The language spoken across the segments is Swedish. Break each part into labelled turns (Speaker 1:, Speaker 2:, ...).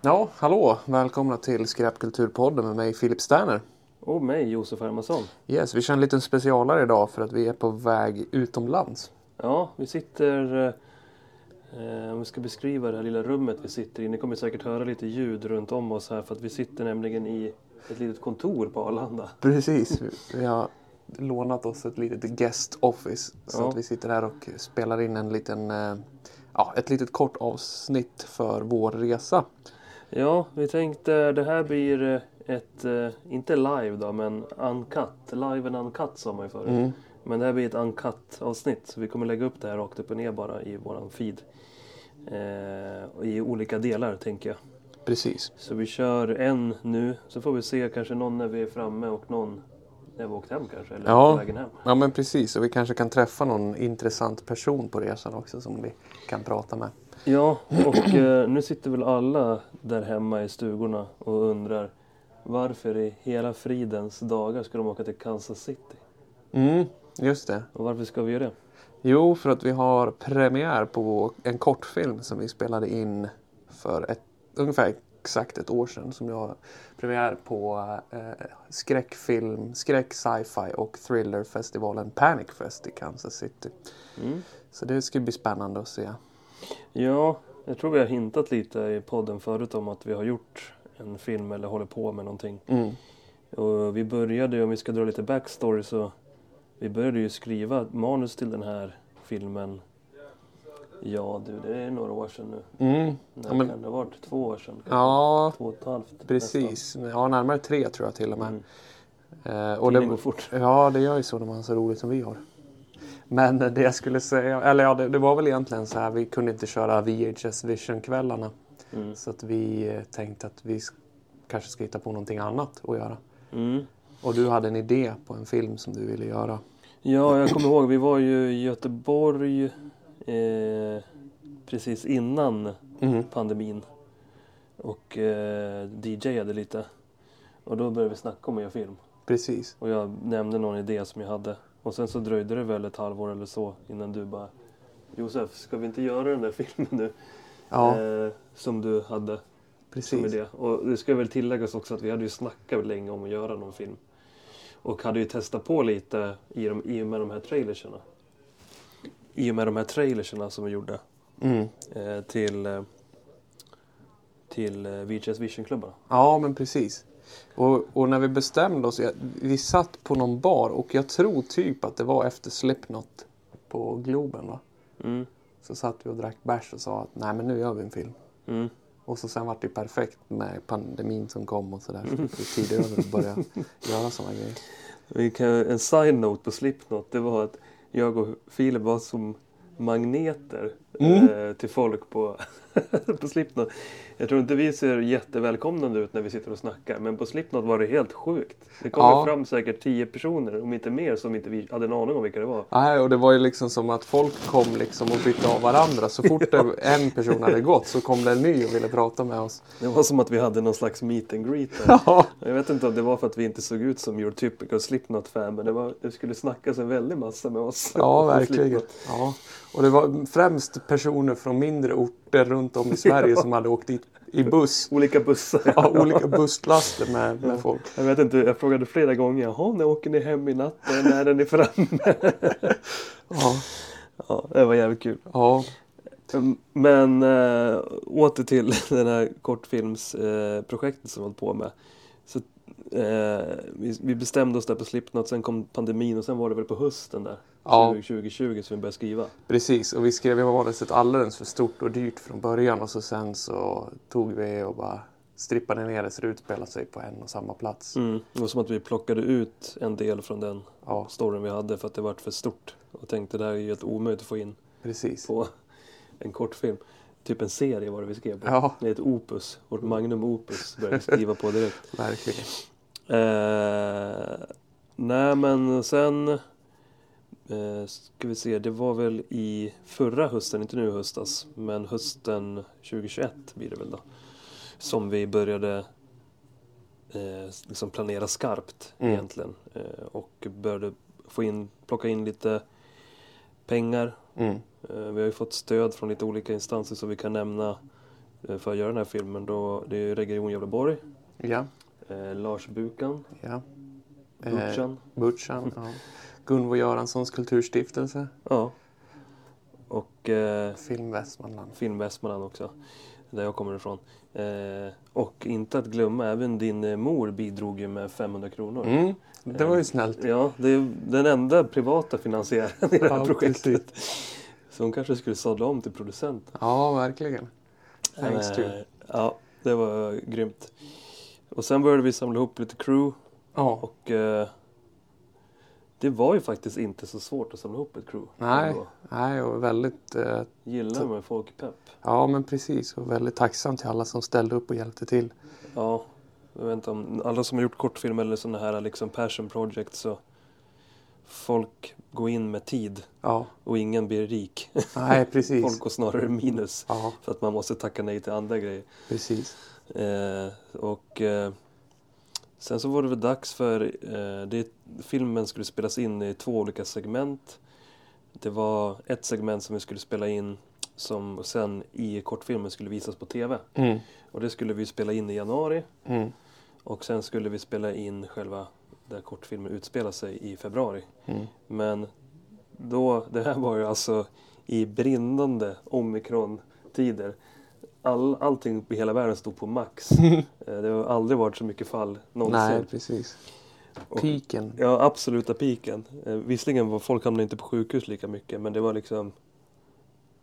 Speaker 1: Ja, hallå! Välkomna till Skräpkulturpodden med mig Filip Sterner.
Speaker 2: Och mig, Josef Hermansson.
Speaker 1: Yes, vi kör en liten specialare idag för att vi är på väg utomlands.
Speaker 2: Ja, vi sitter... eh, Om vi ska beskriva det här lilla rummet vi sitter i. Ni kommer säkert höra lite ljud runt om oss här för att vi sitter nämligen i ett litet kontor på Arlanda.
Speaker 1: Precis, vi- vi har lånat oss ett litet guest office så
Speaker 2: Ja.
Speaker 1: att vi sitter här och spelar in en liten, eh, ja, ett litet kort avsnitt för vår resa.
Speaker 2: Ja, vi tänkte det här blir eh, ett, eh, inte live då, men uncut. Live and uncut sa man ju förut.
Speaker 1: Mm.
Speaker 2: Men det här blir ett uncut avsnitt. Så vi kommer lägga upp det här rakt upp och ner bara i våran feed. Eh, och I olika delar tänker jag.
Speaker 1: Precis,
Speaker 2: Så vi kör en nu, så får vi se kanske någon när vi är framme och någon när vi åkt hem kanske, eller
Speaker 1: Ja.
Speaker 2: på vägen hem.
Speaker 1: ja men precis och vi kanske kan träffa någon intressant person på resan också som vi kan prata med.
Speaker 2: Ja, och eh, nu sitter väl alla där hemma i stugorna och undrar varför i hela fridens dagar ska de åka till Kansas City?
Speaker 1: Mm, just det.
Speaker 2: Och varför ska vi göra det?
Speaker 1: Jo, för att vi har premiär på en kortfilm som vi spelade in för ett, ungefär exakt ett år sedan. Som jag har premiär på eh, skräckfilm, skräck, sci-fi och thrillerfestivalen Panic Fest i Kansas City.
Speaker 2: Mm.
Speaker 1: Så det ska bli spännande att se.
Speaker 2: Ja, jag tror vi har hintat lite i podden förut om att vi har gjort en film eller håller på med någonting.
Speaker 1: Mm.
Speaker 2: Och vi började, ju, om vi ska dra lite backstory, så vi började ju skriva ett manus till den här filmen. Ja du, det är några år sedan nu.
Speaker 1: Mm.
Speaker 2: När
Speaker 1: Ja, men-
Speaker 2: kan det ha varit? Två år sedan? kanske?
Speaker 1: Ja,
Speaker 2: Två och ett halvt? nästan.
Speaker 1: precis. Ja, närmare tre tror jag till och med.
Speaker 2: Mm.
Speaker 1: Eh, och
Speaker 2: Tiden
Speaker 1: det,
Speaker 2: går fort.
Speaker 1: Ja, det gör ju så när man har så roligt som vi har. Men det jag skulle säga, eller ja, det, det var väl egentligen så här, vi kunde inte köra VHS Vision-kvällarna.
Speaker 2: Mm.
Speaker 1: Så att vi eh, tänkte att vi sk- kanske ska hitta på någonting annat att göra.
Speaker 2: Mm.
Speaker 1: Och du hade en idé på en film som du ville göra.
Speaker 2: Ja, jag kommer ihåg, vi var ju i Göteborg eh, precis innan
Speaker 1: Mm.
Speaker 2: pandemin. Och eh, DJade lite. Och då började vi snacka om att göra film.
Speaker 1: Precis.
Speaker 2: Och jag nämnde någon idé som jag hade. Och sen så dröjde det väl ett halvår eller så innan du bara Josef, ska vi inte göra den där filmen nu?
Speaker 1: Ja,
Speaker 2: Eh, som du hade som
Speaker 1: precis.
Speaker 2: idé. Och det ska väl tilläggas också att vi hade ju snackat länge om att göra någon film. Och hade ju testat på lite i, de, i och med de här trailerserna. I och med de här trailerserna som vi gjorde
Speaker 1: Mm.
Speaker 2: eh, till, eh, till eh, VHS Vision-klubbarna.
Speaker 1: Ja, men precis. Och, och när vi bestämde oss, jag, vi satt på någon bar och jag tror typ att det var efter Slipknot på Globen va?
Speaker 2: Mm.
Speaker 1: Så satt vi och drack bärs och sa att nej men nu gör vi en film.
Speaker 2: Mm.
Speaker 1: Och så sen var det perfekt med pandemin som kom och sådär. Så det tog tid över att börja göra sådana grejer.
Speaker 2: Vi kan, en side-note på Slipknot, det var att jag och Filip var som magneter eh, till folk på, på Slipknot. Jag tror inte vi ser jättevälkomnande ut när vi sitter och snackar, men på Slipknot var det helt sjukt. Det kom
Speaker 1: Ja.
Speaker 2: fram säkert tio personer, om inte mer, som inte vi hade en aning om vilka det var.
Speaker 1: Nej, och det var ju liksom som att folk kom liksom och bytte av varandra. Så fort det- en person hade gått så kom det en ny och ville prata med oss.
Speaker 2: Det var som att vi hade någon slags meet and greet där.
Speaker 1: Ja,
Speaker 2: Jag vet inte om det var för att vi inte såg ut som your typical Slipknot-fan, men det, var, det skulle snackas en väldig massa med oss.
Speaker 1: ja
Speaker 2: på
Speaker 1: verkligen.
Speaker 2: Slipknot.
Speaker 1: Ja. Och det var främst personer från mindre orter runt om i Sverige som hade åkt dit i buss.
Speaker 2: Olika bussar.
Speaker 1: Ja, olika busslaster med, med folk.
Speaker 2: Jag vet inte, jag frågade flera gånger. Jaha, när åker ni hem i natt? Och När är ni framme?
Speaker 1: Ja,
Speaker 2: Ja, det var jävligt kul. Mm,
Speaker 1: ja.
Speaker 2: Men äh, åter till den här kortfilmsprojektet som vi hållit på med. Så, eh, vi, vi bestämde oss där på Slipknot, sen kom pandemin och sen var det väl på hösten där.
Speaker 1: Ja.
Speaker 2: 2020 som vi började skriva.
Speaker 1: Precis, och vi skrev ju manuset alldeles för stort och dyrt från början och så sen så tog vi och bara strippade ner det så det utspelade sig på en och samma plats.
Speaker 2: Det var som att vi plockade ut en del från den
Speaker 1: Ja,
Speaker 2: storyn vi hade för att det var för stort. Och tänkte det här är ju helt omöjligt att få in
Speaker 1: precis.
Speaker 2: på en kortfilm. Typ en serie var det vi skrev på.
Speaker 1: Ja,
Speaker 2: Det är ett opus, vårt magnum opus började vi skriva på direkt.
Speaker 1: verkligen.
Speaker 2: Eh, nej men sen eh, ska vi se, det var väl i förra hösten, inte nu i höstas, men hösten 2021 blir det väl då. Som vi började eh, liksom planera skarpt
Speaker 1: Mm.
Speaker 2: egentligen. Eh, och började få in, plocka in lite pengar
Speaker 1: Mm.
Speaker 2: Eh, Vi har ju fått stöd från lite olika instanser som vi kan nämna. eh, för att göra den här filmen. Då, det är Region Gävleborg,
Speaker 1: Ja,
Speaker 2: eh, Lars Bukan,
Speaker 1: ja. Eh,
Speaker 2: Butchan.
Speaker 1: Butchan, ja. Gunvor Göranssons kulturstiftelse.
Speaker 2: Ja. Och eh,
Speaker 1: Film Västmanland.
Speaker 2: Film Västmanland också, där jag kommer ifrån. Eh, och inte att glömma, även din eh, mor bidrog ju med 500 kronor.
Speaker 1: Mm, det var ju snällt.
Speaker 2: Ja, det är den enda privata finansiären i det här
Speaker 1: Ja,
Speaker 2: projektet. Så hon kanske skulle sadla om till producent.
Speaker 1: Ja, verkligen. Thanks to.
Speaker 2: Eh, Ja, det var grymt. Och sen började vi samla ihop lite crew
Speaker 1: Ja,
Speaker 2: och eh, det var ju faktiskt inte så svårt att samla ihop ett crew.
Speaker 1: Nej.
Speaker 2: ändå.
Speaker 1: nej, och väldigt... eh,
Speaker 2: Gillar man folk i pepp.
Speaker 1: Ja, men precis. Och väldigt tacksam till alla som ställde upp och hjälpte till.
Speaker 2: Ja, jag vet inte om alla som har gjort kortfilm eller sådana här liksom passion project så folk går in med tid
Speaker 1: Ja,
Speaker 2: och ingen blir rik.
Speaker 1: nej, precis.
Speaker 2: Folk går snarare minus
Speaker 1: Ja,
Speaker 2: för att man måste tacka nej till andra grejer.
Speaker 1: precis.
Speaker 2: Eh, och eh, sen så var det väl dags för eh, det, filmen skulle spelas in i två olika segment. Det var ett segment som vi skulle spela in som sen i kortfilmen skulle visas på TV.
Speaker 1: Mm.
Speaker 2: Och det skulle vi spela in i januari
Speaker 1: Mm.
Speaker 2: och sen skulle vi spela in själva där kortfilmen utspelar sig i februari.
Speaker 1: Mm.
Speaker 2: Men då, det här var ju alltså i brinnande omikron-tider. All, allting i hela världen stod på max. Eh, Det har aldrig varit så mycket fall
Speaker 1: Nej,
Speaker 2: någonsin.
Speaker 1: precis.
Speaker 2: Och-
Speaker 1: Piken.
Speaker 2: Ja, absoluta piken. Eh, Visserligen var folk hamnade inte på sjukhus lika mycket men det var liksom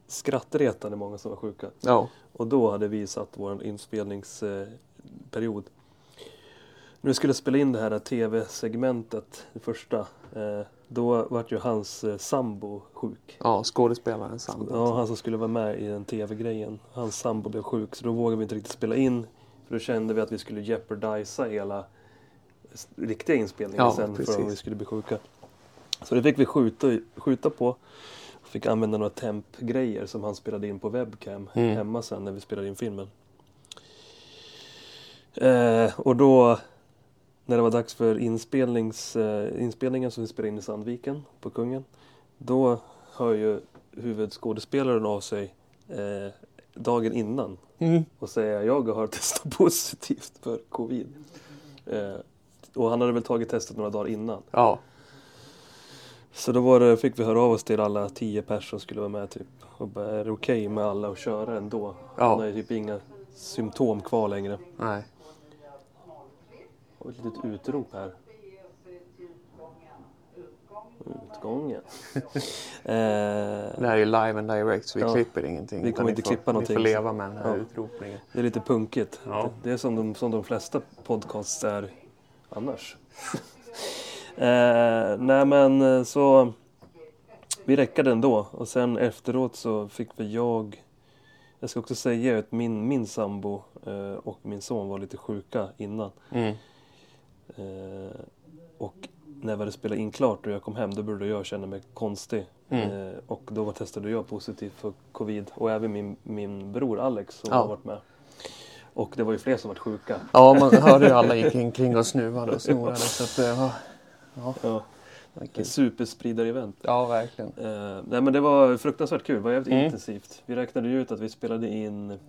Speaker 2: skrattretande många som var sjuka.
Speaker 1: Ja,
Speaker 2: Och då hade vi satt vår inspelningsperiod. När vi skulle spela in det här tv-segmentet, det första, eh, då vart ju hans eh, sambo sjuk.
Speaker 1: ja skådespelaren Sandra.
Speaker 2: Ja, han som skulle vara med i den tv-grejen. Hans sambo blev sjuk så då vågade vi inte riktigt spela in. För då kände vi att vi skulle jeopardisa hela s- riktiga inspelningen
Speaker 1: Ja,
Speaker 2: sen
Speaker 1: precis.
Speaker 2: för om vi skulle bli sjuka. Så det fick vi skjuta, skjuta på. Fick använda några temp-grejer som han spelade in på webcam
Speaker 1: Mm.
Speaker 2: hemma sen när vi spelade in filmen. Eh, och då när det var dags för inspelnings, eh, inspelningen som vi spelade in i Sandviken på Kungen. Då hör ju huvudskådespelaren av sig eh, dagen innan
Speaker 1: Mm.
Speaker 2: och säger jag har testat positivt för covid. Eh, och han hade väl tagit testet några dagar innan.
Speaker 1: Ja,
Speaker 2: Så då var det, fick vi höra av oss till alla tio personer som skulle vara med typ. Och bara, är det okej med alla att köra ändå? Han har
Speaker 1: ja,
Speaker 2: ju typ inga symptom kvar längre.
Speaker 1: nej.
Speaker 2: Och ett litet utrop här. Utgången. eh,
Speaker 1: Det här är ju live and direct så vi
Speaker 2: Ja.
Speaker 1: klipper ingenting.
Speaker 2: Vi
Speaker 1: utan
Speaker 2: kommer
Speaker 1: ni
Speaker 2: inte
Speaker 1: får,
Speaker 2: klippa någonting.
Speaker 1: Ni får leva med den här
Speaker 2: Ja.
Speaker 1: utropningen.
Speaker 2: det är lite punkigt.
Speaker 1: Ja.
Speaker 2: Det är som de, som de flesta podcasts är annars. eh, nej men eh, så... Vi räckade ändå och sen efteråt så fick vi jag... Jag ska också säga att min, min sambo eh, och min son var lite sjuka innan.
Speaker 1: Mm.
Speaker 2: Eh, och när vi hade spelat in klart och jag kom hem då började jag känna mig konstig.
Speaker 1: Mm.
Speaker 2: Eh, och då var testade jag positiv för covid och även min, min bror Alex som
Speaker 1: Ja.
Speaker 2: har varit med. Och det var ju fler som varit sjuka.
Speaker 1: Ja, man hörde ju alla gick in kring och snuvade och snorade. Så att eh, det var...
Speaker 2: Ja. Ett superspridare-event.
Speaker 1: Ja, verkligen.
Speaker 2: Eh, nej men det var fruktansvärt kul, det var jävligt
Speaker 1: Mm.
Speaker 2: intensivt. Vi räknade ju ut att vi spelade in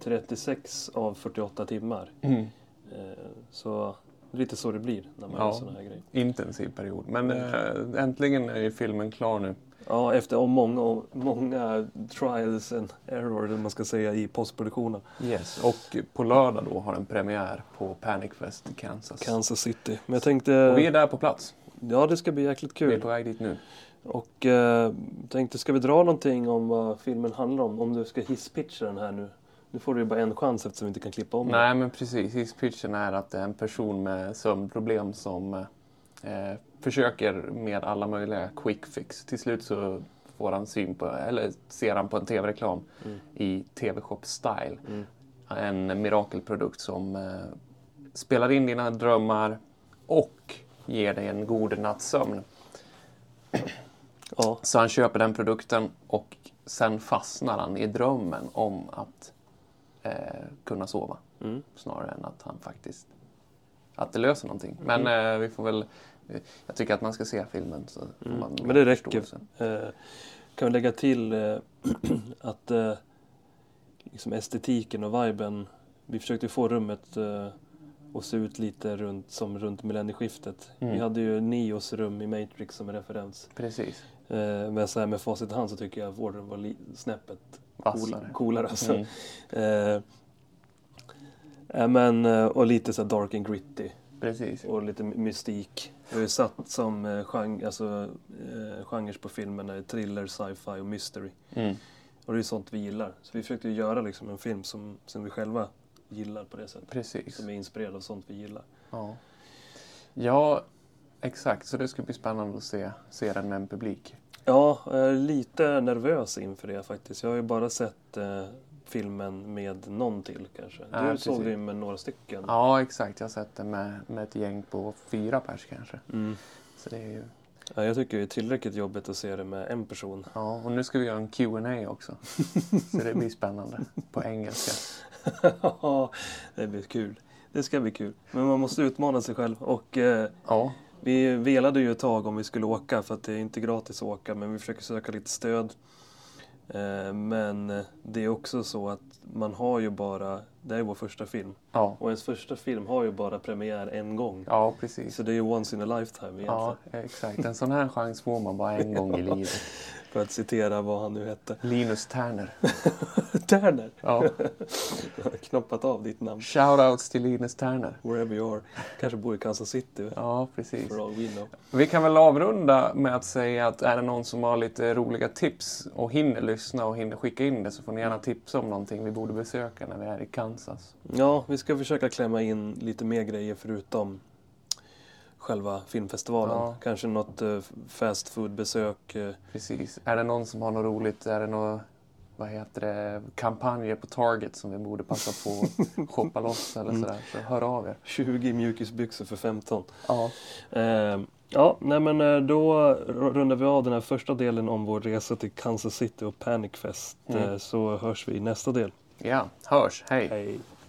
Speaker 2: 36 av 48 timmar.
Speaker 1: Mm.
Speaker 2: Eh, så det är lite så det blir när man
Speaker 1: Ja.
Speaker 2: gör sådana här grejer.
Speaker 1: Intensiv period. Men
Speaker 2: Mm.
Speaker 1: eh, äntligen är ju filmen klar nu.
Speaker 2: Ja, efter om många, om många trials and error, eller vad man ska säga, i postproduktionen.
Speaker 1: Yes. Och på lördag då har den premiär på Panic Fest i Kansas.
Speaker 2: Kansas City. Men jag
Speaker 1: Och vi är
Speaker 2: tänkte,
Speaker 1: där på plats.
Speaker 2: ja det ska bli jäkligt
Speaker 1: Vi är
Speaker 2: kul.
Speaker 1: på väg dit nu.
Speaker 2: Och eh, tänkte, ska vi dra någonting om vad filmen handlar om? Om du ska hisspitcha den här nu. Nu får du ju bara en chans eftersom vi inte kan klippa om den.
Speaker 1: Nej, men precis. Hisspitchen är att det är en person med sömnproblem som eh, försöker med alla möjliga quick fix. Till slut så får han syn på, eller ser han på en tv-reklam
Speaker 2: Mm.
Speaker 1: i TV-shop style.
Speaker 2: Mm.
Speaker 1: En mirakelprodukt som eh, spelar in dina drömmar och ger dig en god nattsömn.
Speaker 2: Ja,
Speaker 1: Så han köper den produkten och sen fastnar han i drömmen om att eh, kunna sova
Speaker 2: Mm.
Speaker 1: snarare än att han faktiskt att det löser någonting. Men
Speaker 2: Mm.
Speaker 1: eh, vi får väl eh, jag tycker att man ska se filmen. Så får man
Speaker 2: Mm. men det räcker.
Speaker 1: förståelse.
Speaker 2: Eh, kan vi lägga till eh, att eh, liksom estetiken och viben. Vi försökte ju få rummet eh, att se ut lite runt, som runt millennieskiftet.
Speaker 1: Mm.
Speaker 2: Vi hade ju Neos rum i Matrix som en referens.
Speaker 1: Precis.
Speaker 2: Eh, men så här med facit i hand så tycker jag att vårt rum var li- snäppet cool,
Speaker 1: Vassare.
Speaker 2: coolare. Alltså.
Speaker 1: Mm.
Speaker 2: Eh, eh, men, eh, och lite så här dark and gritty
Speaker 1: Precis.
Speaker 2: och lite mystik. Det är ju satt som eh, gen- alltså, eh, genrer på filmen är thriller, sci-fi och mystery.
Speaker 1: Mm.
Speaker 2: Och det är ju sånt vi gillar. Så vi försökte ju göra liksom en film som, som vi själva gillar på det sättet.
Speaker 1: Precis.
Speaker 2: Som är inspirerad av sånt vi gillar.
Speaker 1: Ja. ja, exakt. Så det ska bli spännande att se, se den med en publik.
Speaker 2: Ja, jag är lite nervös inför det faktiskt. Jag har ju bara sett eh, filmen med någon till kanske.
Speaker 1: Ja,
Speaker 2: du
Speaker 1: precis.
Speaker 2: såg den med några stycken.
Speaker 1: Ja, exakt. Jag har sett den med, med ett gäng på fyra pers kanske.
Speaker 2: Mm.
Speaker 1: Så det är ju...
Speaker 2: Ja, jag tycker det är tillräckligt jobbigt att se det med en person.
Speaker 1: Ja, och nu ska vi göra en Q&A också. Så det blir spännande. På engelska.
Speaker 2: Ja, det blir kul. Det ska bli kul. Men man måste utmana sig själv. Och eh,
Speaker 1: Ja,
Speaker 2: vi velade ju ett tag om vi skulle åka för att det är inte gratis att åka men vi försöker söka lite stöd. Eh, men det är också så att man har ju bara, det här är vår första film.
Speaker 1: ja,
Speaker 2: Och ens första film har ju bara premiär en gång.
Speaker 1: ja precis.
Speaker 2: Så det är ju once in a lifetime egentligen.
Speaker 1: Ja, exakt. En sån här chans får man bara en gång i livet.
Speaker 2: För att citera vad han nu hette.
Speaker 1: Linus Terner.
Speaker 2: Terner!
Speaker 1: Ja.
Speaker 2: Jag har knoppat av ditt namn.
Speaker 1: Shoutouts till Linus Terner.
Speaker 2: Wherever you are. Kanske bor i Kansas City.
Speaker 1: Ja, precis.
Speaker 2: For all we know.
Speaker 1: Vi kan väl avrunda med att säga att är det någon som har lite roliga tips och hinner lyssna och hinner skicka in det så får ni gärna tipsa om någonting vi borde besöka när vi är i Kansas.
Speaker 2: Ja, vi ska försöka klämma in lite mer grejer förutom själva filmfestivalen.
Speaker 1: Ja.
Speaker 2: Kanske något eh, fast food-besök. eh.
Speaker 1: Precis. Är det någon som har något roligt? Är det några vad heter det, kampanjer på Target som vi borde passa på att shoppa loss eller sådär? Så hör av er.
Speaker 2: 20 mjukisbyxor för 15.
Speaker 1: Ja.
Speaker 2: Eh, ja, nej men eh, då r- rundar vi av den här första delen om vår resa till Kansas City och Panicfest.
Speaker 1: Mm.
Speaker 2: Eh, så hörs vi i nästa del.
Speaker 1: ja, hörs. Hej.
Speaker 2: Hej!